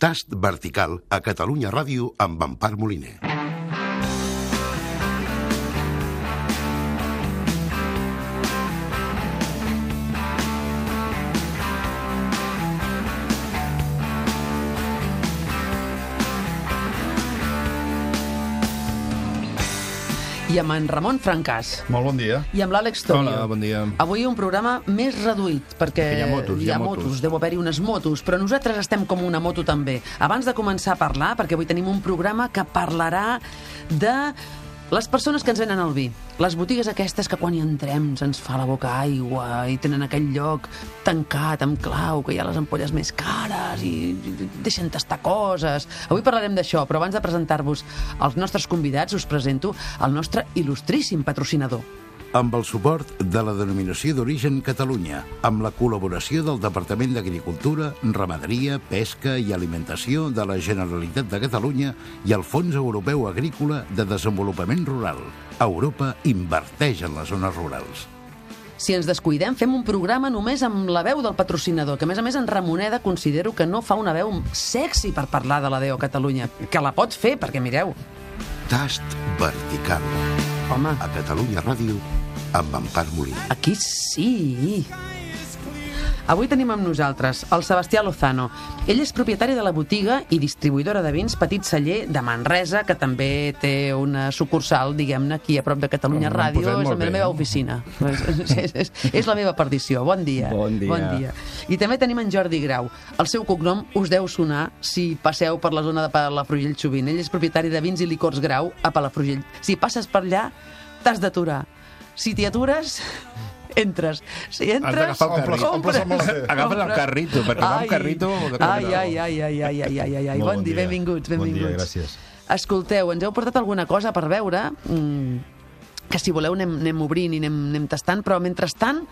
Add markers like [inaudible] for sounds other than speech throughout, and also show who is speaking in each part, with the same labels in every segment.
Speaker 1: Tast vertical a Catalunya Ràdio amb Empar Moliner.
Speaker 2: i amb en Ramon Francàs
Speaker 3: Molt bon dia.
Speaker 2: i amb l'Àlex Tobio.
Speaker 3: Hola, bon dia.
Speaker 2: Avui un programa més reduït, perquè
Speaker 3: Perquè hi ha motos,
Speaker 2: hi ha motos. deu haver-hi unes motos, però nosaltres estem com una moto també. Abans de començar a parlar, perquè avui tenim un programa que parlarà de les persones que ens venen al vi, les botigues aquestes que quan hi entrem se'ns fa la boca aigua i tenen aquell lloc tancat amb clau, que hi ha les ampolles més cares i deixen tastar coses. Avui parlarem d'això, però abans de presentar-vos els nostres convidats us presento el nostre il·lustríssim patrocinador.
Speaker 1: Amb el suport de la denominació d'origen Catalunya, amb la col·laboració del Departament d'Agricultura, Ramaderia, Pesca i Alimentació de la Generalitat de Catalunya i el Fons Europeu Agrícola de Desenvolupament Rural. Europa inverteix en les zones rurals.
Speaker 2: Si ens descuidem, fem un programa només amb la veu del patrocinador, que a més a més en Ramoneda considero que no fa una veu sexy per parlar de la Deo Catalunya, que la pot fer, perquè mireu,
Speaker 1: Tast vertical
Speaker 2: home,
Speaker 1: a Catalunya Ràdio amb Empar Moliner.
Speaker 2: aquí sí. Avui tenim amb nosaltres el Sebastià Lozano. Ell és propietari de la botiga i distribuïdora de vins Petit Celler de Manresa, que també té una sucursal, diguem-ne, aquí a prop de Catalunya
Speaker 3: M'han
Speaker 2: Ràdio.
Speaker 3: posat
Speaker 2: És la
Speaker 3: molt bé,
Speaker 2: meva
Speaker 3: eh?
Speaker 2: oficina. [laughs] és, és, és, és la meva perdició. Bon dia.
Speaker 3: Bon dia.
Speaker 2: Bon dia. I també tenim en Jordi Grau. El seu cognom us deu sonar si passeu per la zona de Palafrugell sovint. Ell és propietari de vins i licors Grau a Palafrugell. Si passes per allà, t'has d'aturar. Si t'hi atures, [laughs] entres. Si entres,
Speaker 3: d'agafar el carrito.
Speaker 2: compres.
Speaker 3: Omples- omples amb el- Agafes el
Speaker 2: Compres.
Speaker 3: carrito, perquè va amb
Speaker 2: Ai.
Speaker 3: carrito de cop
Speaker 2: Ai,
Speaker 3: de
Speaker 2: ai, ai, ai, ai, ai, ai, ai, ai.
Speaker 3: Molt
Speaker 2: Bon,
Speaker 3: bon
Speaker 2: dia,
Speaker 3: dia.
Speaker 2: benvinguts,
Speaker 3: Bon dia,
Speaker 2: benvinguts.
Speaker 3: gràcies.
Speaker 2: Escolteu, ens heu portat alguna cosa per veure? Mm, que si voleu anem, anem obrint i anem, anem tastant, però mentrestant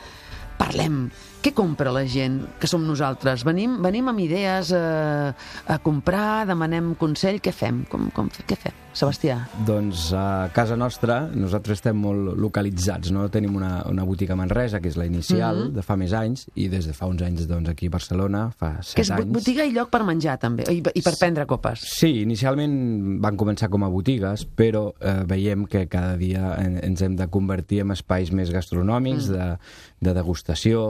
Speaker 2: parlem. Què compra la gent, que som nosaltres? Venim, venim amb idees eh, a comprar, demanem consell, què fem? Com, com, què fem? Sebastià,
Speaker 4: Doncs a casa nostra nosaltres estem molt localitzats, no? Tenim una, una botiga a Manresa, que és la inicial,
Speaker 2: Mhm.
Speaker 4: de fa més anys, i des de fa uns anys doncs, aquí a Barcelona, fa set
Speaker 2: que és bo-
Speaker 4: anys.
Speaker 2: botiga i lloc per menjar, també, i, i per prendre copes.
Speaker 4: Sí, inicialment van començar com a botigues, però eh, veiem que cada dia en, ens hem de convertir en espais més gastronòmics, mm. de, de degustació,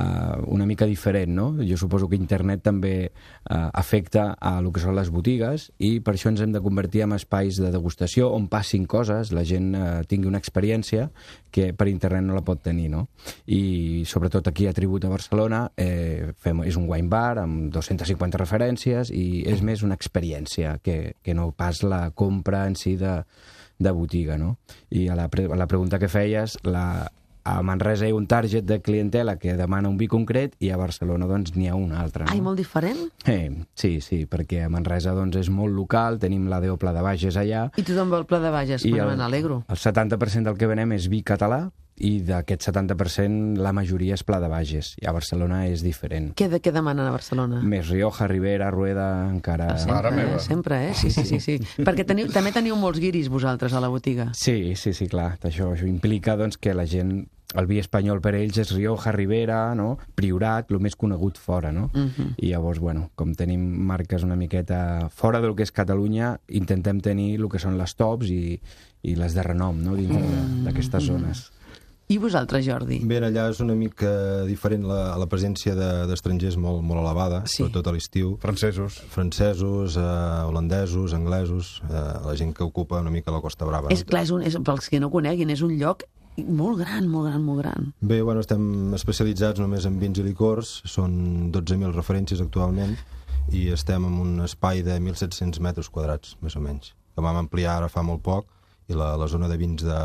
Speaker 4: eh, una mica diferent, no? Jo suposo que internet també eh, afecta a lo que són les botigues i per això ens hem de convertir en espais de degustació on passin coses, la gent eh, tingui una experiència que per internet no la pot tenir, no? I sobretot aquí a Tribut a Barcelona eh, fem, és un wine bar amb 250 referències i és més una experiència que, que no pas la compra en si de, de botiga, no? I a la, pre a la pregunta que feies, la, a Manresa hi ha un target de clientela que demana un vi concret i a Barcelona doncs n'hi ha un altre. No?
Speaker 2: Ai, molt diferent?
Speaker 4: Eh, sí, sí, perquè a Manresa doncs, és molt local, tenim la Deopla de Bages allà,
Speaker 2: I tothom vol pla de Bages, bueno, me n'alegro.
Speaker 4: el 70% del que venem és vi català i d'aquest 70% la majoria és pla de Bages. I a Barcelona és diferent.
Speaker 2: Què, de, què demanen a Barcelona?
Speaker 4: Més Rioja, Ribera, Rueda,
Speaker 5: Ah.
Speaker 4: encara...
Speaker 2: Sempre,
Speaker 3: Mare
Speaker 2: Ah. eh?
Speaker 3: meva.
Speaker 2: Sempre, eh? Sí, sí, sí.
Speaker 3: [laughs]
Speaker 2: sí. Perquè teniu, també teniu molts guiris vosaltres a la botiga.
Speaker 4: Sí, sí, sí, clar. Això, això implica doncs, que la gent... El vi espanyol per ells és Rioja, Ribera, no? Priorat, el més conegut fora, no?
Speaker 2: Mhm.
Speaker 4: I llavors, bueno, com tenim marques una miqueta fora del que és Catalunya, intentem tenir el que són les tops i, i les de renom, no?, dintre
Speaker 2: Mm.
Speaker 4: de- d'aquestes zones.
Speaker 2: I vosaltres, Jordi?
Speaker 5: Bé, allà és una mica diferent la, la presència de- d'estrangers de, molt, molt elevada,
Speaker 2: Sí.
Speaker 5: sí. sobretot a l'estiu.
Speaker 3: Francesos.
Speaker 5: Francesos, eh, holandesos, anglesos, eh, la gent que ocupa una mica la Costa Brava.
Speaker 2: És, clar, és un, és, pels que no coneguin, és un lloc molt gran, molt gran, molt gran.
Speaker 5: Bé, bueno, estem especialitzats només en vins i licors, són 12.000 referències actualment i estem en un espai de 1.700 metres quadrats, més o menys, que vam ampliar ara fa molt poc i la, la zona de vins de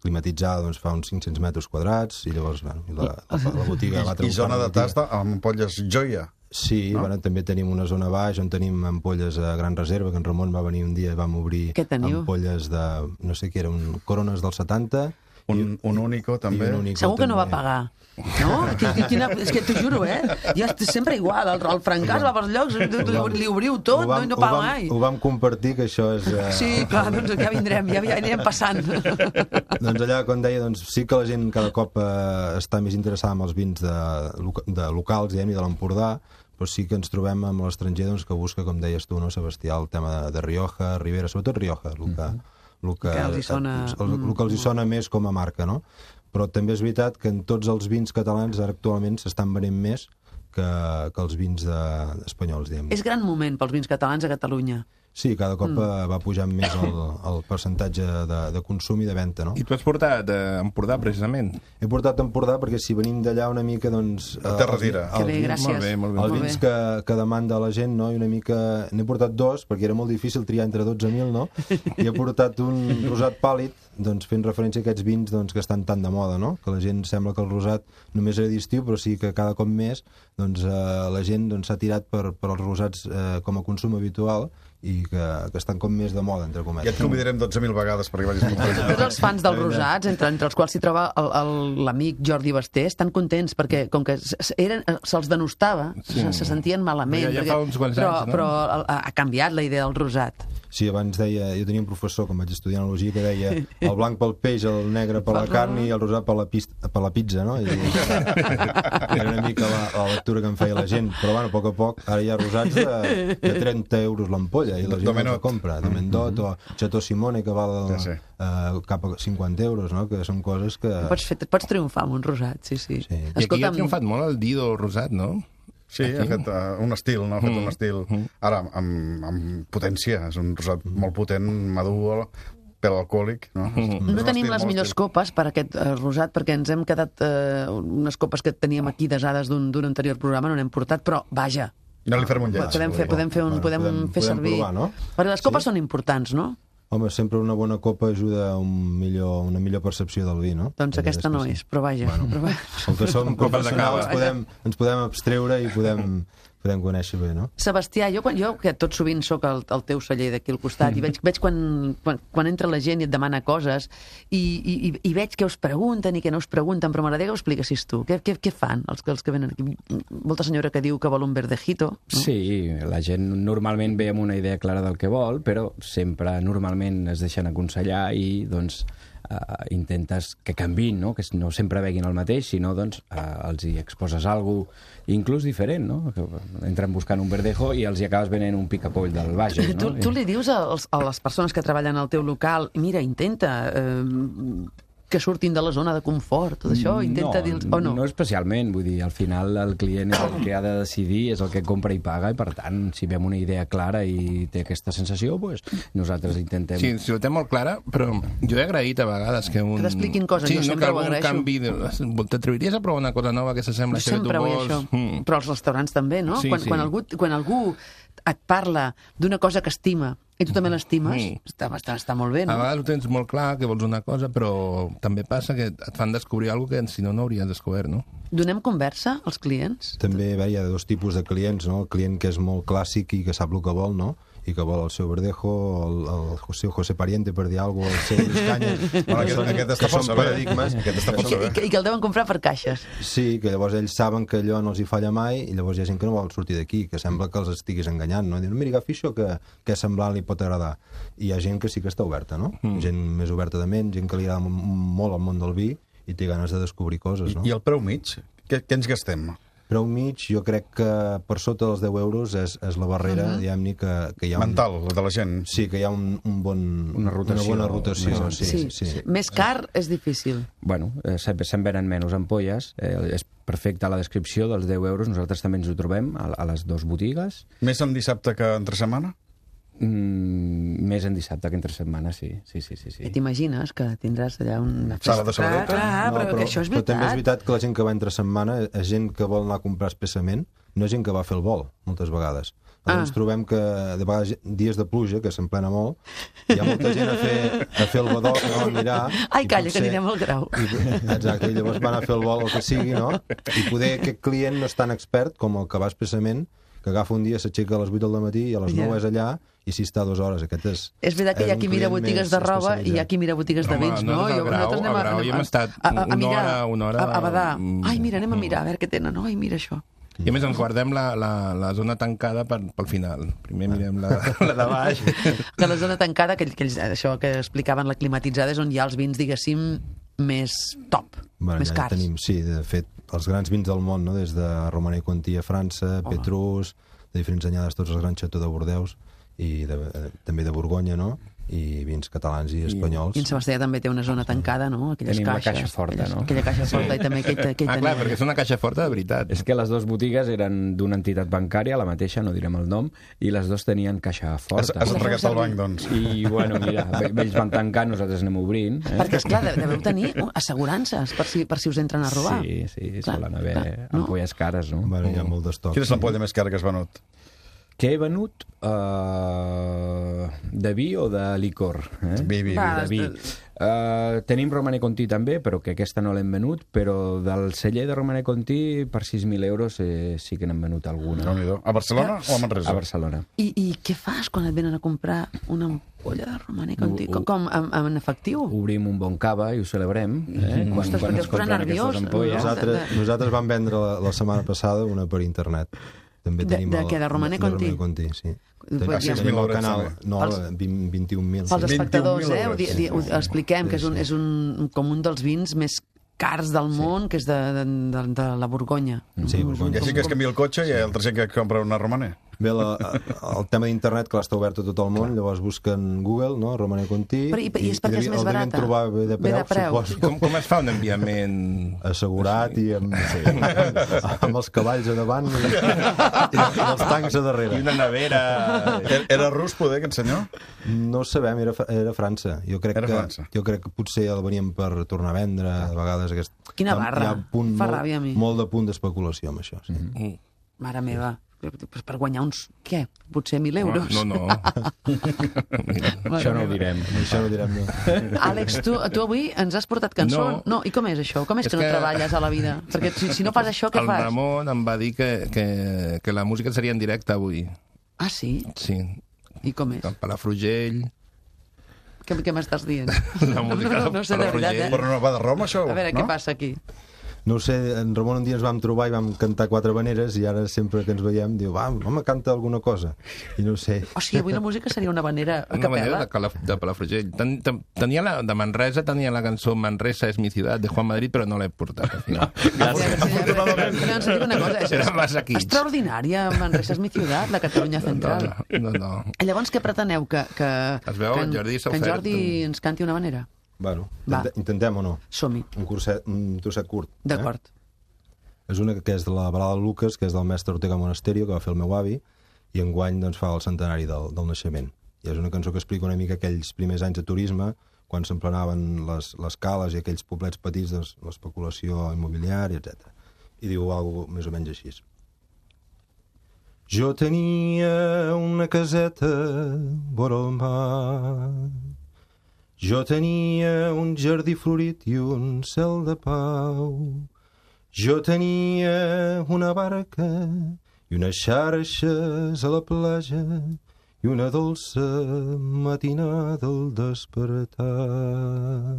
Speaker 5: climatitzada doncs, fa uns 500 metres quadrats i llavors bueno, i la, la, la botiga... l'altra
Speaker 3: I zona
Speaker 5: botiga.
Speaker 3: de tasta amb ampolles joia.
Speaker 5: Sí, no? bueno, també tenim una zona a baix on tenim ampolles a gran reserva, que en Ramon va venir un dia i vam obrir
Speaker 2: Què teniu?
Speaker 5: ampolles de, no sé què era, un corones del 70
Speaker 3: Un, un único, també.
Speaker 5: i un únic.
Speaker 2: Segur que no va pagar. No? Qui- qui- Quina, és que t'ho juro, eh? Ja és sempre igual. El, el Francàs va pels llocs, li, li obriu tot, no, i no
Speaker 5: ho
Speaker 2: paga
Speaker 5: vam,
Speaker 2: mai.
Speaker 5: Ho vam compartir, que això és... Eh,
Speaker 2: Sí, clar, doncs ja vindrem, ja, ja anirem passant. [laughs]
Speaker 5: doncs allà, quan deia, doncs sí que la gent cada cop eh, està més interessada en els vins de, loca- de locals, diguem, i de l'Empordà, però sí que ens trobem amb l'estranger doncs, que busca, com deies tu, no, Sebastià, el tema de, de Rioja, Ribera, sobretot Rioja, el que, el que,
Speaker 2: Mhm. Que els hi sona- Mm.
Speaker 5: el, el, el que els hi sona més com a marca, no? Però també és veritat que en tots els vins catalans ara actualment s'estan venent més que, que els vins de, espanyols, diguem.
Speaker 2: És gran moment pels vins catalans a Catalunya.
Speaker 5: Sí, cada cop mm. va pujant més el, el percentatge de, de consum i de venda, no?
Speaker 6: I tu has portat a Empordà, precisament.
Speaker 5: He portat a Empordà perquè si venim d'allà una mica, doncs...
Speaker 3: A terra
Speaker 5: els vi-
Speaker 3: d'ira.
Speaker 2: Que
Speaker 5: els
Speaker 2: bé,
Speaker 5: vins-
Speaker 2: gràcies.
Speaker 6: molt bé, molt bé.
Speaker 5: Els
Speaker 6: Molt
Speaker 5: vins que, que demanda la gent, no? I una mica... N'he portat dos, perquè era molt difícil triar entre 12.000,
Speaker 6: [laughs]
Speaker 5: no? I he portat un rosat pàl·lid, doncs fent referència a aquests vins doncs, que estan tan de moda, no? Que la gent sembla que el rosat només era d'estiu, però sí que cada cop més doncs, eh, la gent s'ha doncs, s'ha tirat per, per els rosats eh, com a consum habitual i que, que estan com més de moda, entre cometes.
Speaker 3: Ja et convidarem 12.000 vegades perquè vagis a
Speaker 6: [laughs]
Speaker 3: conferència.
Speaker 2: Tots els fans dels rosats, entre, entre els quals s'hi troba el- el- l'amic Jordi Basté, estan contents perquè com que s- s- eren- eh, se'ls denostava,
Speaker 6: Sí.
Speaker 2: se, se sentien malament.
Speaker 6: Ja- ja
Speaker 2: perquè-
Speaker 6: fa uns quants
Speaker 2: però,
Speaker 6: anys, no?
Speaker 2: Però ha, ha canviat la idea del rosat.
Speaker 5: Sí, abans deia, jo tenia un professor quan vaig estudiar analogia que deia el blanc pel peix, el negre per la carn i el rosat per la, pist, per la pizza, no? I, era una mica la, la lectura que em feia la gent, però bueno, a poc a poc ara hi ha rosats de, de 30 euros l'ampolla i la gent no
Speaker 3: Domenot.
Speaker 5: els compra, de Mendot o Chateau Simone que val
Speaker 3: Ja sé.
Speaker 5: eh, cap a 50 euros, no? Que són coses que...
Speaker 2: Pots, fer, pots triomfar amb un rosat, sí, sí.
Speaker 5: Ah. Sí. I aquí
Speaker 6: I aquí ha triomfat molt el Dido Rosat, no?
Speaker 3: Sí, ha fet uh, un estil, no? Ha fet
Speaker 6: Mm-hmm.
Speaker 3: un estil... Ara, amb, amb potència, és un rosat molt potent, madur, pèl alcohòlic, no?
Speaker 6: Mm-hmm.
Speaker 2: No tenim les millors copes per aquest eh, rosat perquè ens hem quedat eh, unes copes que teníem aquí desades d'un d'un anterior programa, no n'hem portat, però vaja,
Speaker 3: No li farem un lleig.
Speaker 2: podem fer, podem fer, un,
Speaker 5: Bueno,
Speaker 2: podem,
Speaker 5: podem-
Speaker 2: fer
Speaker 5: podem
Speaker 2: servir...
Speaker 5: provar, no?
Speaker 2: Perquè les copes són importants, no?
Speaker 5: Home, sempre una bona copa ajuda a un millor, una millor percepció del vi, no?
Speaker 2: Doncs
Speaker 5: La veritat
Speaker 2: aquesta
Speaker 5: que
Speaker 2: no
Speaker 5: sí.
Speaker 2: és, però vaja. Bueno. Però vaja.
Speaker 5: Com que som professionals,
Speaker 6: cava.
Speaker 5: podem, ens podem abstreure i podem, podem conèixer bé, no?
Speaker 2: Sebastià, jo, quan, jo que tot sovint sóc el, el teu celler d'aquí al costat
Speaker 4: Mm.
Speaker 2: i veig, veig quan, quan, quan entra la gent i et demana coses i, i, i- i veig què us pregunten i què no us pregunten, però m'agradaria que ho expliquessis tu. Què, què, què fan els, que- els que venen aquí? Molta senyora que diu que vol un verdejito. No?
Speaker 4: Sí, la gent normalment ve amb una idea clara del que vol, però sempre normalment es deixen aconsellar i doncs eh, intentes que canvin, no? que no sempre veguin el mateix, sinó doncs eh, els hi exposes algo inclús diferent, no? Que entren buscant un verdejo i els hi acabes venent un picapoll del Bages,
Speaker 2: Eh, Tu,
Speaker 4: no?
Speaker 2: tu li dius als, a les persones que treballen al teu local, mira, intenta eh, que surtin de la zona de confort, tot això, intenta
Speaker 4: no,
Speaker 2: dir-los... O no?
Speaker 4: No especialment, vull dir, al final el client és el que ha de decidir, és el que compra i paga, i per tant, si veiem una idea clara i té aquesta sensació, doncs nosaltres intentem...
Speaker 6: Sí, si ho té molt clara, però jo he agraït a vegades que un...
Speaker 2: Que t'expliquin coses,
Speaker 6: sí,
Speaker 2: jo
Speaker 6: no,
Speaker 2: sempre ho
Speaker 6: que algun
Speaker 2: agraeixo.
Speaker 6: canvi... De... T'atreviries a provar una cosa nova que s'assembla a
Speaker 2: Jo
Speaker 6: això que tu
Speaker 2: sempre vull
Speaker 6: vols?
Speaker 2: això.
Speaker 6: Mm.
Speaker 2: Però als restaurants també, no?
Speaker 6: Sí,
Speaker 2: quan,
Speaker 6: sí.
Speaker 2: Quan, algú, quan algú et parla d'una cosa que estima i tu també l'estimes,
Speaker 6: Mm.
Speaker 2: està, està, està molt bé,
Speaker 6: A
Speaker 2: no?
Speaker 6: vegades ho tens molt clar, que vols una cosa, però també passa que et fan descobrir alguna cosa que si no, no hauries descobert, no?
Speaker 2: Donem conversa als clients?
Speaker 5: També bé, hi ha dos tipus de clients, no? El client que és molt clàssic i que sap el que vol, no? i que vol el seu verdejo, el, el José, José Pariente, per dir alguna cosa, el seu Escanya,
Speaker 3: Bueno, aquest-
Speaker 5: que són-
Speaker 3: aquest està
Speaker 5: que són
Speaker 3: força bé.
Speaker 5: paradigmes.
Speaker 3: Aquest està
Speaker 2: I
Speaker 3: força
Speaker 2: que,
Speaker 3: bé.
Speaker 2: i, que, I que el deuen comprar per caixes.
Speaker 5: Sí, que llavors ells saben que allò no els hi falla mai i llavors hi ha gent que no vol sortir d'aquí, que sembla que els estiguis enganyant, no? Diuen, mira, agafi això que, que és semblant li pot agradar. I hi ha gent que sí que està oberta, no? Mm. Gent més oberta de ment, gent que li agrada m- molt el món del vi i té ganes de descobrir coses, no?
Speaker 3: I el preu mig? Què, què ens gastem?
Speaker 5: Preu mig, jo crec que per sota dels 10 euros és, és la barrera, uh -huh. diguem-ne, que, que hi ha...
Speaker 3: Mental, de la gent.
Speaker 5: Un, sí, que hi ha un, un bon,
Speaker 4: Una rotació.
Speaker 5: Una bona rotació, sí, sí. sí. sí. Ah.
Speaker 2: Més car és difícil.
Speaker 4: bueno, eh, se- se'n venen menys ampolles, eh, és perfecta la descripció dels 10 euros, nosaltres també ens ho trobem a, a les dues botigues,
Speaker 3: Més en dissabte que entre setmana?
Speaker 4: mm, més en dissabte que entre setmana, sí, sí, sí, sí.
Speaker 2: I
Speaker 4: sí.
Speaker 2: t'imagines que tindràs allà una
Speaker 3: Sala
Speaker 2: Clar,
Speaker 3: de sobredeta?
Speaker 2: clar, Ah, però, que això és
Speaker 5: Però
Speaker 2: veritat.
Speaker 5: també és veritat que la gent que va entre setmana és gent que vol anar a comprar expressament, no és gent que va fer el vol, moltes vegades. Ah.
Speaker 2: Ah.
Speaker 5: Ens trobem que de vegades dies de pluja, que s'emplena molt, hi ha molta gent a fer, a fer el badó, que no anirà...
Speaker 2: Ai,
Speaker 5: i
Speaker 2: calla, que anirem al grau.
Speaker 5: I, exacte, i llavors van a fer el vol el que sigui, no? I poder aquest client no és tan expert com el que va expressament, que agafa un dia, s'aixeca a les 8 del matí i a les
Speaker 2: Ja.
Speaker 5: 9 és allà i s'hi està dues hores. Aquest és...
Speaker 2: És veritat que hi ha
Speaker 5: és un
Speaker 2: qui mira
Speaker 5: client
Speaker 2: botigues
Speaker 5: més
Speaker 2: de roba i hi ha
Speaker 5: especialitzat.
Speaker 2: qui mira botigues de
Speaker 6: Home,
Speaker 2: vins, no?
Speaker 6: nosaltres al Grau- al Grau hi hem estat una
Speaker 2: mirar,
Speaker 6: hora, una hora,
Speaker 2: A, a badar.
Speaker 6: mm,
Speaker 2: Ai, mira, anem a mirar, a veure què tenen. Ai, mira això.
Speaker 6: I a més ens guardem la, la, la zona tancada per, pel final. Primer mirem
Speaker 2: [laughs]
Speaker 6: la, la de baix.
Speaker 2: que la zona tancada, que, que ells, això que explicaven, la climatitzada, és on hi ha els vins, diguéssim, més top,
Speaker 5: Bueno,
Speaker 2: més
Speaker 5: ja hi
Speaker 2: cars.
Speaker 5: tenim, sí, de fet, els grans vins del món, no? des de Romana i Quantí a França, Home. Petrus, de diferents anyades, tots els grans xató de Bordeus, i de, eh, també de Borgonya, no? I vins catalans i espanyols.
Speaker 2: I en Sebastià també té una zona tancada, no? Aquelles
Speaker 4: Tenim la
Speaker 2: caixes,
Speaker 4: caixa forta,
Speaker 2: aquelles,
Speaker 4: no?
Speaker 2: Aquella caixa forta i també aquell, aquell
Speaker 6: Ah, clar,
Speaker 2: tenia.
Speaker 6: perquè és una caixa forta de veritat.
Speaker 4: És que les dues botigues eren d'una entitat bancària, la mateixa, no direm el nom, i les dues tenien caixa
Speaker 3: Has,
Speaker 4: forta.
Speaker 3: has
Speaker 2: La feu
Speaker 3: entregat al
Speaker 2: servir.
Speaker 3: banc, doncs.
Speaker 4: I, bueno, mira, ve- ells van tancar, nosaltres anem obrint. Eh?
Speaker 2: Perquè, esclar, de- deveu tenir uh, assegurances per si, per si us entren a robar.
Speaker 4: Sí, sí,
Speaker 2: Clar,
Speaker 4: solen haver
Speaker 2: clar, no?
Speaker 4: ampolles cares, no?
Speaker 5: Bueno, hi ha molt d'estoc.
Speaker 3: Quina és l'ampolla més cara que has venut?
Speaker 4: Què he venut? Uh, de vi o de licor? Eh?
Speaker 3: Vivi.
Speaker 2: Va.
Speaker 4: de vi. Uh, tenim Romane Conti també, però que aquesta no l'hem venut, però del celler de Romane Conti per 6.000 euros eh, sí que n'hem venut alguna.
Speaker 3: Déu-n'hi-do. A Barcelona o a Manresa?
Speaker 4: A Barcelona.
Speaker 2: I, I què fas quan et venen a comprar una ampolla de romaní
Speaker 4: Uh,
Speaker 2: conti? Com, com en, en efectiu?
Speaker 4: Obrim un bon cava i ho celebrem. Eh? Quan,
Speaker 2: Ostres, perquè es
Speaker 4: quan ens
Speaker 2: posa
Speaker 4: compren
Speaker 2: nerviós,
Speaker 4: aquestes
Speaker 3: eh?
Speaker 4: ampolles.
Speaker 2: no?
Speaker 5: Nosaltres,
Speaker 2: de-
Speaker 5: nosaltres vam vendre la, la setmana passada una per internet. També
Speaker 2: De-
Speaker 5: tenim
Speaker 2: de
Speaker 5: el-
Speaker 2: què? De Romane Conti?
Speaker 5: De Romane Conti, sí.
Speaker 2: Pues ja-
Speaker 5: tenim el
Speaker 3: 6.000
Speaker 5: canal,
Speaker 3: euros,
Speaker 5: no,
Speaker 2: Pels-
Speaker 5: 20 21.000.
Speaker 2: Pels
Speaker 5: sí.
Speaker 2: espectadors,
Speaker 3: 21.000
Speaker 2: eh? Ho, di,
Speaker 3: euros.
Speaker 2: di, ho expliquem, que és, un,
Speaker 5: Sí,
Speaker 2: és un, com un dels vins més cars del món, que és de, de, de, de la Borgonya.
Speaker 5: Sí,
Speaker 3: I
Speaker 5: Borgonya.
Speaker 3: així que es canvia el cotxe i el tercer que compra una romana.
Speaker 5: Bé, la, el tema d'internet, clar, està obert a tot el món, llavors busquen Google, no?, Romane Conti...
Speaker 2: Però, i, I és perquè és
Speaker 5: devien-
Speaker 2: més
Speaker 5: el devien
Speaker 2: barata.
Speaker 5: trobar bé de preu, suposo.
Speaker 6: Com, com es fa un enviament...
Speaker 5: assegurat i amb, sí. [laughs] amb els cavalls a davant i, i els tancs a
Speaker 6: I
Speaker 5: darrere.
Speaker 6: una nevera...
Speaker 3: Era, Er, era rus, poder, aquest senyor?
Speaker 5: No sabem, era, Fra- era França. Jo crec
Speaker 3: Era
Speaker 5: que,
Speaker 3: França.
Speaker 5: Jo crec que potser el venien per tornar a vendre, a vegades aquest...
Speaker 2: Quina
Speaker 5: hi ha-
Speaker 2: barra.
Speaker 5: Hi ha un punt
Speaker 2: Fa
Speaker 5: molt,
Speaker 2: ràbia a mi.
Speaker 5: Molt de punt d'especulació amb això, sí.
Speaker 6: Mm-hmm.
Speaker 5: Mm -hmm.
Speaker 2: Mare meva, Pues per guanyar uns, què, potser 1.000 euros?
Speaker 6: No, no.
Speaker 4: Això no ho direm.
Speaker 5: Això no ho
Speaker 2: [laughs]
Speaker 5: direm, no.
Speaker 2: Àlex, tu, tu avui ens has portat cançó?
Speaker 6: No.
Speaker 2: no. I com és això? Com és,
Speaker 6: És
Speaker 2: que, no
Speaker 6: que-
Speaker 2: treballes a la vida? Perquè si, si no fas això, què
Speaker 6: El
Speaker 2: fas?
Speaker 6: Ramon em va dir que, que, que la música seria en directe avui.
Speaker 2: Ah, sí?
Speaker 6: Sí,
Speaker 2: I com és?
Speaker 6: el Palafrugell...
Speaker 2: Què, què m'estàs dient?
Speaker 6: La música
Speaker 2: no, no sé, de
Speaker 6: Palafrugell.
Speaker 2: veritat,
Speaker 3: Però
Speaker 2: eh?
Speaker 3: no va de Roma, això?
Speaker 2: A veure
Speaker 3: no?
Speaker 2: què passa aquí.
Speaker 5: No ho sé, en Ramon un dia ens vam trobar i vam cantar quatre maneres i ara sempre que ens veiem diu, va, home, canta alguna cosa. I no ho sé.
Speaker 2: O sigui, Oh, avui la música seria una vanera a
Speaker 6: Una manera
Speaker 2: capella.
Speaker 6: de, Calaf de Palafrugell. Ten, ten, tenia la, de Manresa tenia la cançó Manresa és mi ciutat de Juan Madrid, però no l'he portat al final.
Speaker 2: Gràcies. No, ens diu una cosa. És,
Speaker 6: Era massa quins.
Speaker 2: extraordinària, Manresa és mi ciutat, la Catalunya
Speaker 6: No,
Speaker 2: central.
Speaker 6: no, no. no.
Speaker 2: Llavors, què preteneu? Que, que,
Speaker 6: Es veu,
Speaker 2: que en,
Speaker 6: Jordi s'ha
Speaker 2: que en
Speaker 6: ofert
Speaker 2: Jordi
Speaker 6: un-
Speaker 2: ens canti una vanera?
Speaker 5: Bueno,
Speaker 2: Va.
Speaker 5: intent- intentem o no?
Speaker 2: Som-hi.
Speaker 5: Un, curset, un trosset curt.
Speaker 2: D'acord.
Speaker 6: Eh?
Speaker 5: És una que és de la balada de Lucas, que és del mestre Ortega Monasterio, que va fer el meu avi, i enguany doncs, fa el centenari del, del naixement. I és una cançó que explica una mica aquells primers anys de turisme, quan s'emplenaven les, les cales i aquells poblets petits, doncs, l'especulació immobiliària, etc. I diu alguna més o menys així. Jo tenia una caseta vora el mar jo tenia un jardí florit i un cel de pau. Jo tenia una barca i unes xarxes a la platja i una dolça matinada al despertar.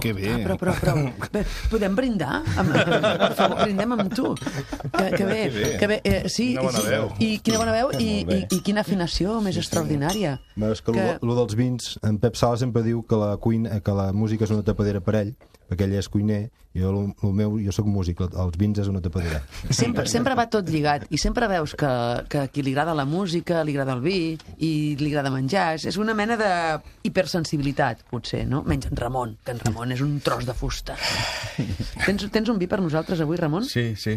Speaker 6: Que bé.
Speaker 2: Ah, però, però,
Speaker 6: [laughs]
Speaker 2: però, bé, podem brindar? Amb, amb, per favor, brindem amb tu. Que, que bé, que bé. Eh, sí,
Speaker 6: Quina bona
Speaker 2: i,
Speaker 6: veu.
Speaker 2: I, quina bona veu i, i, i quina afinació més extraordinària.
Speaker 5: Bé, És que, que... Lo, dels vins, en Pep Sala sempre diu que la, cuina, que la música és una tapadera per ell, perquè ell és cuiner, i jo, lo, lo meu, jo sóc músic, els vins és una tapadera.
Speaker 2: Sempre, sempre va tot lligat i sempre veus que, que a qui li agrada la música, li agrada el vi i li agrada menjar. És, és una mena de hipersensibilitat, potser, no? Menys en Ramon, que en Ramon és un tros de fusta. Tens, tens un vi per nosaltres avui, Ramon?
Speaker 3: Sí, sí.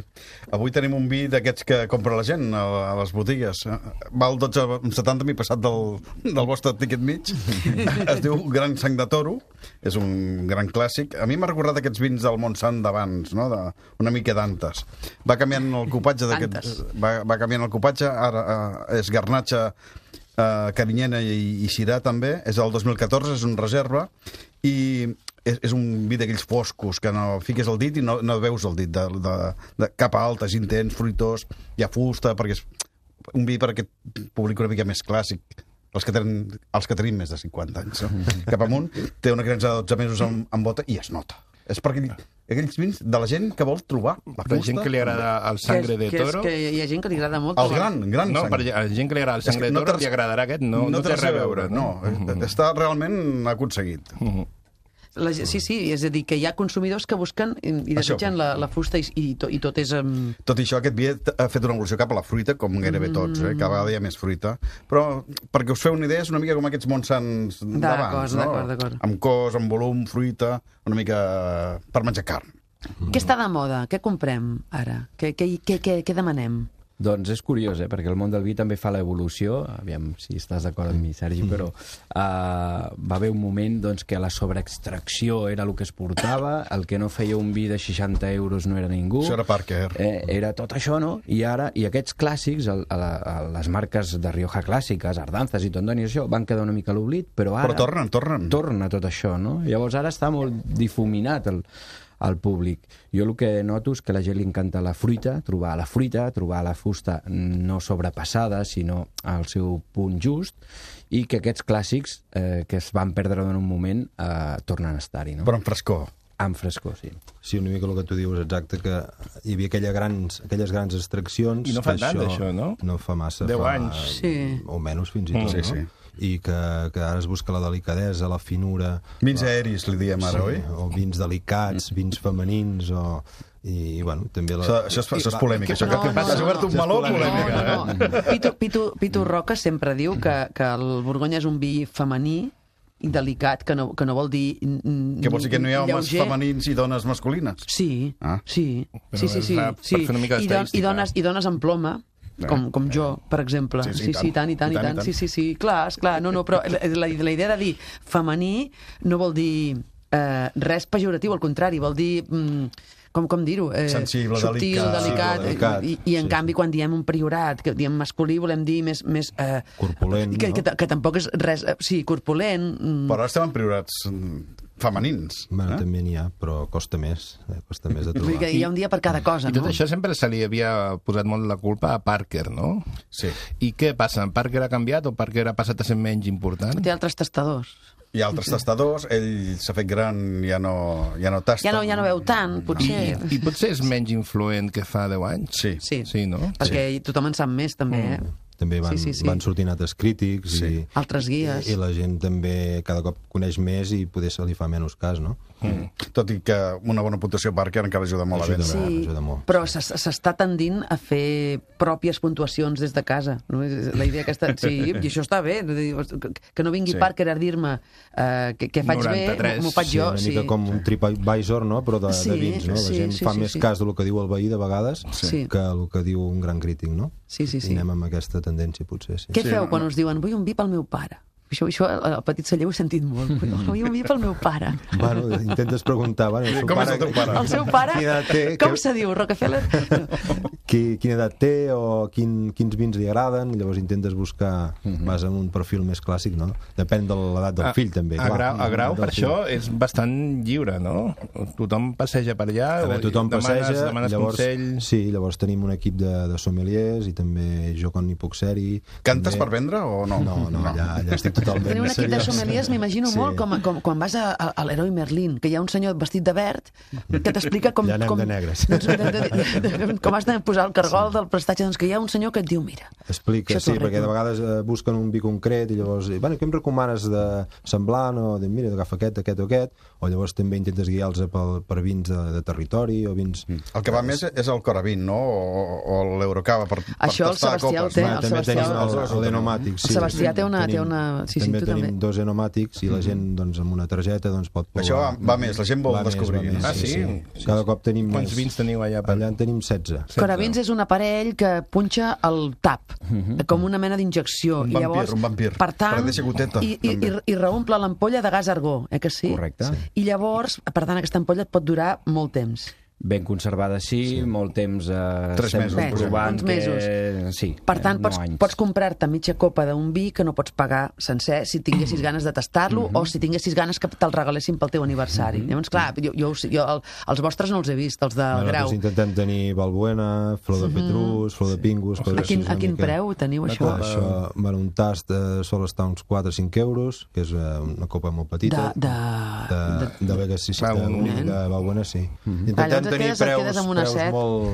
Speaker 3: Avui tenim un vi d'aquests que compra la gent a, a les botigues. Val 12,70, m'he passat del, del vostre tiquet mig. Es diu Gran Sang de Toro, és un gran clàssic. A mi m'ha recordat aquests vins del Montsant d'abans, no? de, una mica d'antes. Va canviant el copatge d'aquest...
Speaker 2: Antes.
Speaker 3: Va, va canviant el copatge, ara eh, és garnatxa eh, carinyena i, i cirà també, és del 2014, és un reserva, i és, és un vi d'aquells foscos que no fiques el dit i no, no veus el dit de, de, de cap a altes, intens, fruitós, hi ha fusta, perquè és un vi per aquest públic una mica més clàssic, els que, tenen, els que tenim més de 50 anys. No? Cap amunt, té una creença de 12 mesos amb, amb bota i es nota. És per aquell, aquells vins de la gent que vol trobar la fusta.
Speaker 6: Per Ah. gent que li agrada el sangre de
Speaker 2: que, és,
Speaker 6: toro...
Speaker 2: que, és, que hi ha gent que li agrada molt.
Speaker 3: El gran, gran
Speaker 6: no,
Speaker 3: sang.
Speaker 6: per a gent que li agrada el sangre
Speaker 3: És que
Speaker 6: de
Speaker 3: no té
Speaker 6: toro,
Speaker 3: res- Mm,
Speaker 6: li agradarà aquest, no, no, té res a veure.
Speaker 3: No, està realment aconseguit.
Speaker 2: La, ge- sí, sí, és a dir, que hi ha consumidors que busquen i, i
Speaker 3: Això.
Speaker 2: desitgen la, la fusta i, i, to, i tot és... Um...
Speaker 3: Tot i això, aquest vi ha fet una evolució cap a la fruita, com gairebé tots, eh? cada vegada hi ha més fruita. Però, perquè us feu una idea, és una mica com aquests Montsants d'abans, no?
Speaker 2: d'acord, d'acord.
Speaker 3: Amb cos, amb volum, fruita, una mica per menjar carn.
Speaker 2: Què està de moda? Què comprem ara? Què, què, què, què, què demanem?
Speaker 4: Doncs és curiós, eh? perquè el món del vi també fa l'evolució, aviam si estàs d'acord amb mi, Sergi,
Speaker 3: Mm.
Speaker 4: però uh, va haver un moment doncs, que la sobreextracció era el que es portava, el que no feia un vi de 60 euros no era ningú.
Speaker 3: Això era Parker.
Speaker 4: Eh, era tot això, no? I ara, i aquests clàssics, el, a la, a les marques de Rioja clàssiques, Ardanzas i Tondoni, i això, van quedar una mica a l'oblit, però ara...
Speaker 3: Però tornen, tornen.
Speaker 4: Torna tot això, no? Llavors ara està molt difuminat el, el públic. Jo el que noto és que a la gent li encanta la fruita, trobar la fruita, trobar la fusta no sobrepassada, sinó al seu punt just, i que aquests clàssics eh, que es van perdre en un moment eh, tornen a estar-hi, no?
Speaker 3: Però amb frescor.
Speaker 4: Amb frescor, sí.
Speaker 5: Sí, una mica el que tu dius, exacte, que hi havia aquella grans, aquelles grans extraccions...
Speaker 6: I no fa
Speaker 5: que
Speaker 6: tant, això, no?
Speaker 5: No fa massa.
Speaker 6: Deu
Speaker 5: fa,
Speaker 6: anys. Mm.
Speaker 2: Sí.
Speaker 5: O menys, fins i tot,
Speaker 3: Sí,
Speaker 5: no?
Speaker 3: sí.
Speaker 5: I que, que ara es busca la delicadesa, la finura...
Speaker 3: Vins aeris, li diem ara, oi?
Speaker 5: o vins delicats,
Speaker 6: Mm.
Speaker 5: vins femenins, o... I, i bueno, també... La...
Speaker 3: Això, això, és, això és polèmic. Això que,
Speaker 2: No,
Speaker 3: que
Speaker 2: no,
Speaker 3: has
Speaker 2: no,
Speaker 3: obert un
Speaker 5: no.
Speaker 3: meló
Speaker 5: No, no,
Speaker 3: polèmic, eh?
Speaker 2: no, no. Pitu, Pitu, Pitu Roca sempre diu que, que el Borgonya és un vi femení i delicat, que no, que no vol dir... mm,
Speaker 3: Que vols dir que no hi ha homes
Speaker 2: lleuger.
Speaker 3: femenins i dones masculines?
Speaker 2: Sí,
Speaker 3: Ah.
Speaker 2: ah. sí,
Speaker 6: Però
Speaker 2: sí, sí,
Speaker 6: és
Speaker 2: sí,
Speaker 6: la- per
Speaker 2: sí.
Speaker 6: fer una mica
Speaker 2: I, don, I
Speaker 6: d'estadística.
Speaker 2: dones, I dones amb ploma, com, com jo, per exemple.
Speaker 3: Sí, sí,
Speaker 2: sí, sí, tant, i tant, i tant. Sí, sí, sí, clar, esclar, no, no, però la, la, la idea de dir femení no vol dir eh, res pejoratiu, al contrari, vol dir... Mm, com, com dir-ho? Eh,
Speaker 3: Sensible,
Speaker 2: subtil,
Speaker 3: delicat.
Speaker 2: delicat,
Speaker 5: Sensible, delicat.
Speaker 2: I, i, en
Speaker 5: Sí,
Speaker 2: sí, canvi, quan diem un priorat, que diem masculí, volem dir més... més eh,
Speaker 5: Corpulent,
Speaker 2: que,
Speaker 5: no?
Speaker 2: que, ta- que, tampoc és res... eh, Sí, corpulent... mm,
Speaker 3: Però ara estem en priorats mm, femenins.
Speaker 5: Bueno,
Speaker 3: eh?
Speaker 5: també n'hi ha, però costa més, eh? costa més de
Speaker 2: Vull dir
Speaker 5: trobar.
Speaker 2: que hi ha un dia per cada cosa,
Speaker 6: I tot
Speaker 2: no?
Speaker 6: això sempre se li havia posat molt la culpa a Parker, no?
Speaker 3: Sí.
Speaker 6: I què passa? En Parker ha canviat o Parker ha passat a ser menys important?
Speaker 2: Té altres tastadors.
Speaker 3: Hi ha altres tastadors, ell s'ha fet gran, ja no, ja no tasta.
Speaker 2: Ja no, ja no veu tant,
Speaker 6: I,
Speaker 2: potser.
Speaker 6: I potser és menys influent que fa 10 anys?
Speaker 3: Sí.
Speaker 2: Sí.
Speaker 6: Sí, no?
Speaker 2: Perquè tothom en sap més, també, eh?
Speaker 5: També van,
Speaker 2: Sí, Ah, sí, sí.
Speaker 5: van sortint altres crítics
Speaker 3: Sí.
Speaker 5: i,
Speaker 2: Altres guies.
Speaker 5: i la gent també cada cop coneix més i poder se li fa menys cas, no? Mm.
Speaker 3: Tot i que una bona puntuació Parker encara ajuda molt a
Speaker 5: Ajuda
Speaker 3: vendre.
Speaker 5: molt.
Speaker 2: Sí,
Speaker 5: ajuda molt.
Speaker 2: però s'es- s'està tendint a fer pròpies puntuacions des de casa. No? És La idea aquesta...
Speaker 5: [laughs]
Speaker 2: Sí, i això està bé. vull dir, que- Que no vingui
Speaker 3: Sí.
Speaker 2: sí. Parker a dir-me eh, que, que faig
Speaker 6: 93,
Speaker 2: bé, m'ho faig
Speaker 6: sí,
Speaker 2: jo.
Speaker 5: una
Speaker 2: Sí,
Speaker 5: mica com un TripAdvisor, no? però de,
Speaker 2: Sí,
Speaker 5: de vins. No? La
Speaker 2: sí,
Speaker 5: gent
Speaker 2: sí,
Speaker 5: fa
Speaker 2: sí,
Speaker 5: més
Speaker 2: sí.
Speaker 5: cas del que diu el veí de vegades
Speaker 2: Sí.
Speaker 5: que el que diu un gran crític. No?
Speaker 2: Sí, sí, sí.
Speaker 5: I anem amb aquesta tendència, potser. Sí.
Speaker 2: Què feu quan us diuen, vull un vi pel meu pare? Això, això al petit celler ho he sentit molt. Vull un vi pel meu pare.
Speaker 5: Bueno, intentes preguntar... Bueno, el seu
Speaker 3: Com és el teu pare?
Speaker 2: El seu pare,
Speaker 5: Quina edat té?
Speaker 2: com
Speaker 5: Que-
Speaker 2: se diu, Rockefeller?
Speaker 5: [laughs]
Speaker 2: No.
Speaker 5: qui, quina edat té o quin, quins vins li agraden, llavors intentes buscar, vas en un perfil més clàssic, no? Depèn de l'edat del fill, també,
Speaker 6: Mhm. A,
Speaker 5: clar.
Speaker 6: grau, a grau,
Speaker 5: Del
Speaker 6: per
Speaker 5: fill.
Speaker 6: això, és bastant lliure, no? Tothom passeja per allà,
Speaker 5: A veure, tothom
Speaker 6: demanes,
Speaker 5: passeja,
Speaker 6: demanes
Speaker 5: llavors,
Speaker 6: consells...
Speaker 5: sí, llavors tenim un equip de, de sommeliers i també jo quan hi puc ser-hi.
Speaker 3: Cantes
Speaker 5: també-
Speaker 3: per vendre o no?
Speaker 5: No, no, allà, allà estic totalment
Speaker 2: Tenir un equip de
Speaker 5: seriós.
Speaker 2: sommeliers m'imagino
Speaker 5: Sí.
Speaker 2: molt com, com quan vas a, a, a l'heroi Merlin, que hi ha un senyor vestit de verd que t'explica com...
Speaker 5: Ja anem
Speaker 2: com,
Speaker 5: de negres.
Speaker 2: Doncs, de, de, de, de, com has de posar el cargol sí. del prestatge, doncs que hi ha un senyor que et diu, mira,
Speaker 5: Explica,
Speaker 2: Això
Speaker 5: sí,
Speaker 2: t'ho
Speaker 5: perquè de
Speaker 2: arreglo.
Speaker 5: vegades eh, busquen un vi concret i llavors, eh, bueno, què em recomanes de semblant o de, mira, agafa aquest, aquest o aquest, o llavors també intentes guiar-los per, per vins de, de territori o vins...
Speaker 3: El que va més és el Coravin, no? O, o l'Eurocava per, per
Speaker 2: Això el
Speaker 3: tastar
Speaker 2: Sebastià el
Speaker 3: copes.
Speaker 2: té,
Speaker 3: no?
Speaker 2: el
Speaker 5: també
Speaker 2: Sebastià-
Speaker 5: tenim el, el, el enomàtic, sí.
Speaker 2: El Sebastià té una- té
Speaker 5: Tenim-
Speaker 2: una- sí, sí,
Speaker 5: també
Speaker 2: tu
Speaker 5: tenim
Speaker 2: també.
Speaker 5: dos enomàtics i la gent, doncs, amb una targeta, doncs, pot provar.
Speaker 3: Això va- va més, la gent vol
Speaker 5: Va més,
Speaker 3: descobrir.
Speaker 5: va més,
Speaker 6: Ah, sí?
Speaker 5: Cada cop tenim
Speaker 6: Quants
Speaker 5: més.
Speaker 6: vins teniu allà per-
Speaker 5: Allà en tenim 16.
Speaker 2: Coravins és un aparell que punxa el tap, com una mena d'injecció.
Speaker 3: Un
Speaker 2: I
Speaker 3: vampir,
Speaker 2: llavors,
Speaker 3: un vampir.
Speaker 2: Per tant,
Speaker 3: Però deixa goteta,
Speaker 2: i, i, i,
Speaker 3: també.
Speaker 2: i reomple l'ampolla de gas argó, eh que sí?
Speaker 4: Correcte. Sí.
Speaker 2: I llavors, per tant, aquesta ampolla et pot durar molt temps.
Speaker 4: Ben conservada, sí, sí. molt temps... Eh,
Speaker 3: Tres
Speaker 4: estem
Speaker 3: mesos, Mesos,
Speaker 4: provant
Speaker 2: uns
Speaker 4: Que...
Speaker 2: mesos.
Speaker 4: Sí,
Speaker 2: Per tant,
Speaker 4: eh,
Speaker 2: pots,
Speaker 4: no anys.
Speaker 2: pots comprar-te mitja copa d'un vi que no pots pagar sencer si
Speaker 4: [clears throat]
Speaker 2: tinguessis ganes de tastar-lo
Speaker 4: Mhm.
Speaker 2: o si tinguessis ganes que te'l regalessin pel teu aniversari. Llavors, clar, jo, jo, ho sé, jo el, els vostres no els he vist, els del Grau.
Speaker 5: Nosaltres doncs, intentem tenir Balbuena, Flor de Petrus, Flor de Pingus... Flor
Speaker 2: A
Speaker 5: de
Speaker 2: quin,
Speaker 5: Sis,
Speaker 2: a
Speaker 5: una
Speaker 2: quin
Speaker 5: mica.
Speaker 2: preu ho teniu, això?
Speaker 5: Clar, això, bueno, un tast eh, sol estar uns 4-5 euros, que és eh, una copa molt
Speaker 2: De,
Speaker 5: petita.
Speaker 2: de...
Speaker 5: de, de, de Vegas, sí, sí,
Speaker 6: Va,
Speaker 5: de,
Speaker 6: un
Speaker 5: de,
Speaker 6: nen. Mhm.
Speaker 5: de Valbuena, sí. Mm -hmm.
Speaker 2: Allò et
Speaker 5: tenir
Speaker 2: quedes, et
Speaker 5: preus,
Speaker 2: quedes amb una
Speaker 5: preus
Speaker 2: set.
Speaker 5: molt,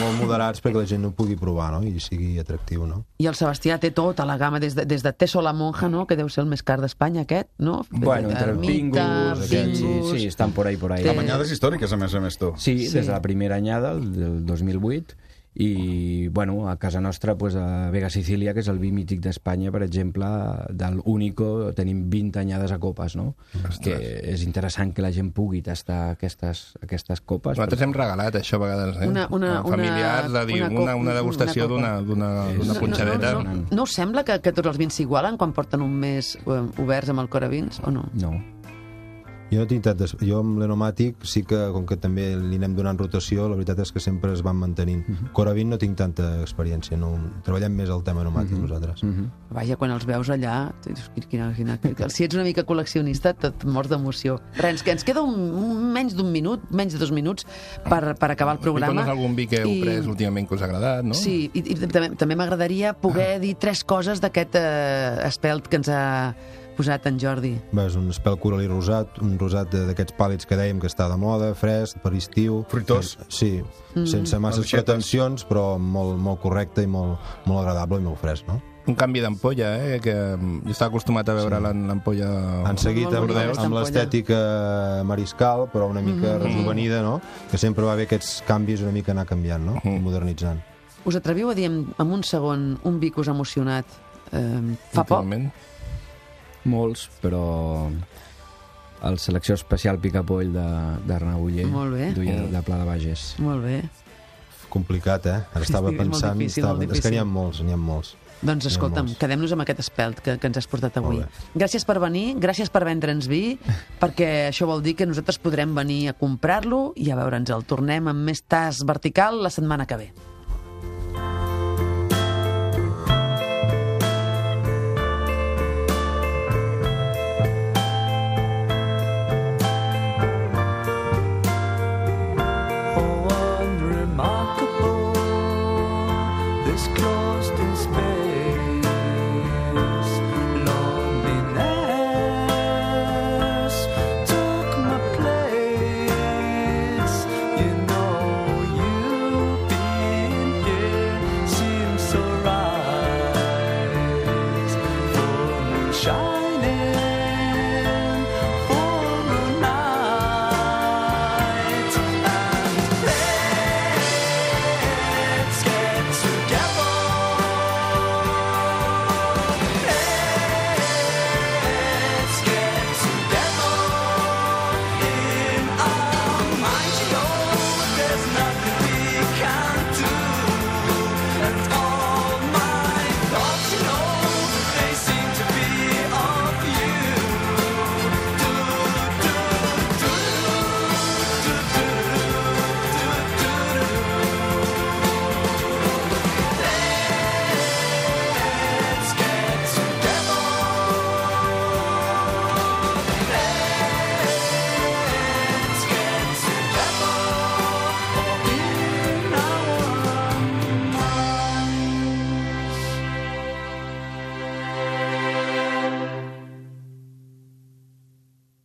Speaker 5: molt moderats perquè la gent no pugui provar no? i sigui atractiu, no?
Speaker 2: I el Sebastià té tota la gamma, des de, des de Teso la Monja, no?, que deu ser el més car d'Espanya, aquest, no?
Speaker 4: Bueno, entre
Speaker 2: Ermita,
Speaker 4: pingus, aquests, sí,
Speaker 2: pingus...
Speaker 4: sí, estan por ahí, por ahí.
Speaker 2: Té-
Speaker 3: Banyades històriques, a més a més, tu.
Speaker 4: Sí,
Speaker 2: Sí.
Speaker 4: des de la primera anyada, el del 2008, i, bueno, a casa nostra, pues, a Vega Sicília, que és el vi mític d'Espanya, per exemple, del Único, tenim 20 anyades a copes, no? Que és interessant que la gent pugui tastar aquestes, aquestes copes.
Speaker 6: Nosaltres hem regalat això a vegades, eh?
Speaker 2: Una- una-
Speaker 6: a familiars,
Speaker 2: una-
Speaker 6: de dir,
Speaker 2: una
Speaker 6: una,
Speaker 2: co-
Speaker 6: una,
Speaker 2: una
Speaker 6: degustació
Speaker 2: copa.
Speaker 6: d'una d'una
Speaker 4: No,
Speaker 6: d'una
Speaker 4: no,
Speaker 6: punxadeta.
Speaker 2: No, no, no, no us sembla que, que tots els vins s'igualen quan porten un mes eh, oberts amb el Coravins, o no?
Speaker 4: No.
Speaker 5: Jo no tinc tantes... Jo amb l'enomàtic sí que, com que també li anem donant rotació, la veritat és que sempre es van mantenint. Mm
Speaker 6: Mhm.
Speaker 5: -hmm. Coravin no tinc tanta experiència, no... treballem més el tema enomàtic
Speaker 6: Mhm.
Speaker 5: mm -hmm. nosaltres. Mm -hmm.
Speaker 2: Vaja, quan els veus allà, tu dius, quina, quina, quina, quina. si ets una mica col·leccionista, et mors d'emoció. Res, que ens queda un, un, menys d'un minut, menys de dos minuts, per, per acabar el programa.
Speaker 6: Explica'ns algun vi que heu
Speaker 2: I-
Speaker 6: pres últimament que us ha agradat, no?
Speaker 2: Sí, i, i també, també m'agradaria
Speaker 6: Ah.
Speaker 2: poder dir tres coses d'aquest eh, espelt que ens ha posat en Jordi.
Speaker 5: Va, és un espel coralí rosat, un rosat de- d'aquests pàl·lids que dèiem que està de moda, fresc, per estiu...
Speaker 3: Fruitós.
Speaker 5: Eh, Sí, mm -hmm. sense masses
Speaker 3: Maduixetes.
Speaker 5: pretensions, però molt, molt correcte i molt, molt agradable i molt fresc, no?
Speaker 6: Un canvi d'ampolla, eh? Que mm, jo estava acostumat a veure sí. l'ampolla...
Speaker 5: Han seguit
Speaker 2: molt
Speaker 5: amb,
Speaker 2: bonica aquesta
Speaker 5: amb
Speaker 2: ampolla.
Speaker 5: l'estètica mariscal, però una mica
Speaker 2: Mm-hmm.
Speaker 5: mm -hmm. rejuvenida, no? Que sempre va bé aquests canvis una mica anar canviant, no? Mm -hmm. Modernitzant.
Speaker 2: Us atreviu a dir en, en un segon un vi que us ha emocionat eh, fa poc?
Speaker 6: últimament.
Speaker 4: Molts, però el selecció especial Picapoll de- d'Arnau Uller
Speaker 2: Molt bé.
Speaker 4: duia de Pla de Bages.
Speaker 2: Molt bé.
Speaker 5: Complicat, eh? Ara estava
Speaker 2: Sí, és molt
Speaker 5: pensant...
Speaker 2: difícil,
Speaker 5: estava...
Speaker 2: molt
Speaker 5: És que n'hi ha
Speaker 2: difícil.
Speaker 5: molts, n'hi ha molts.
Speaker 2: Doncs escolta'm,
Speaker 5: molts.
Speaker 2: quedem-nos amb aquest espelt que, que ens has portat avui.
Speaker 5: Molt
Speaker 2: Gràcies per venir, gràcies per vendre'ns
Speaker 5: [laughs]
Speaker 2: vi, perquè això vol dir que nosaltres podrem venir a comprar-lo i a veure'ns el. Tornem amb més tas vertical la setmana que ve.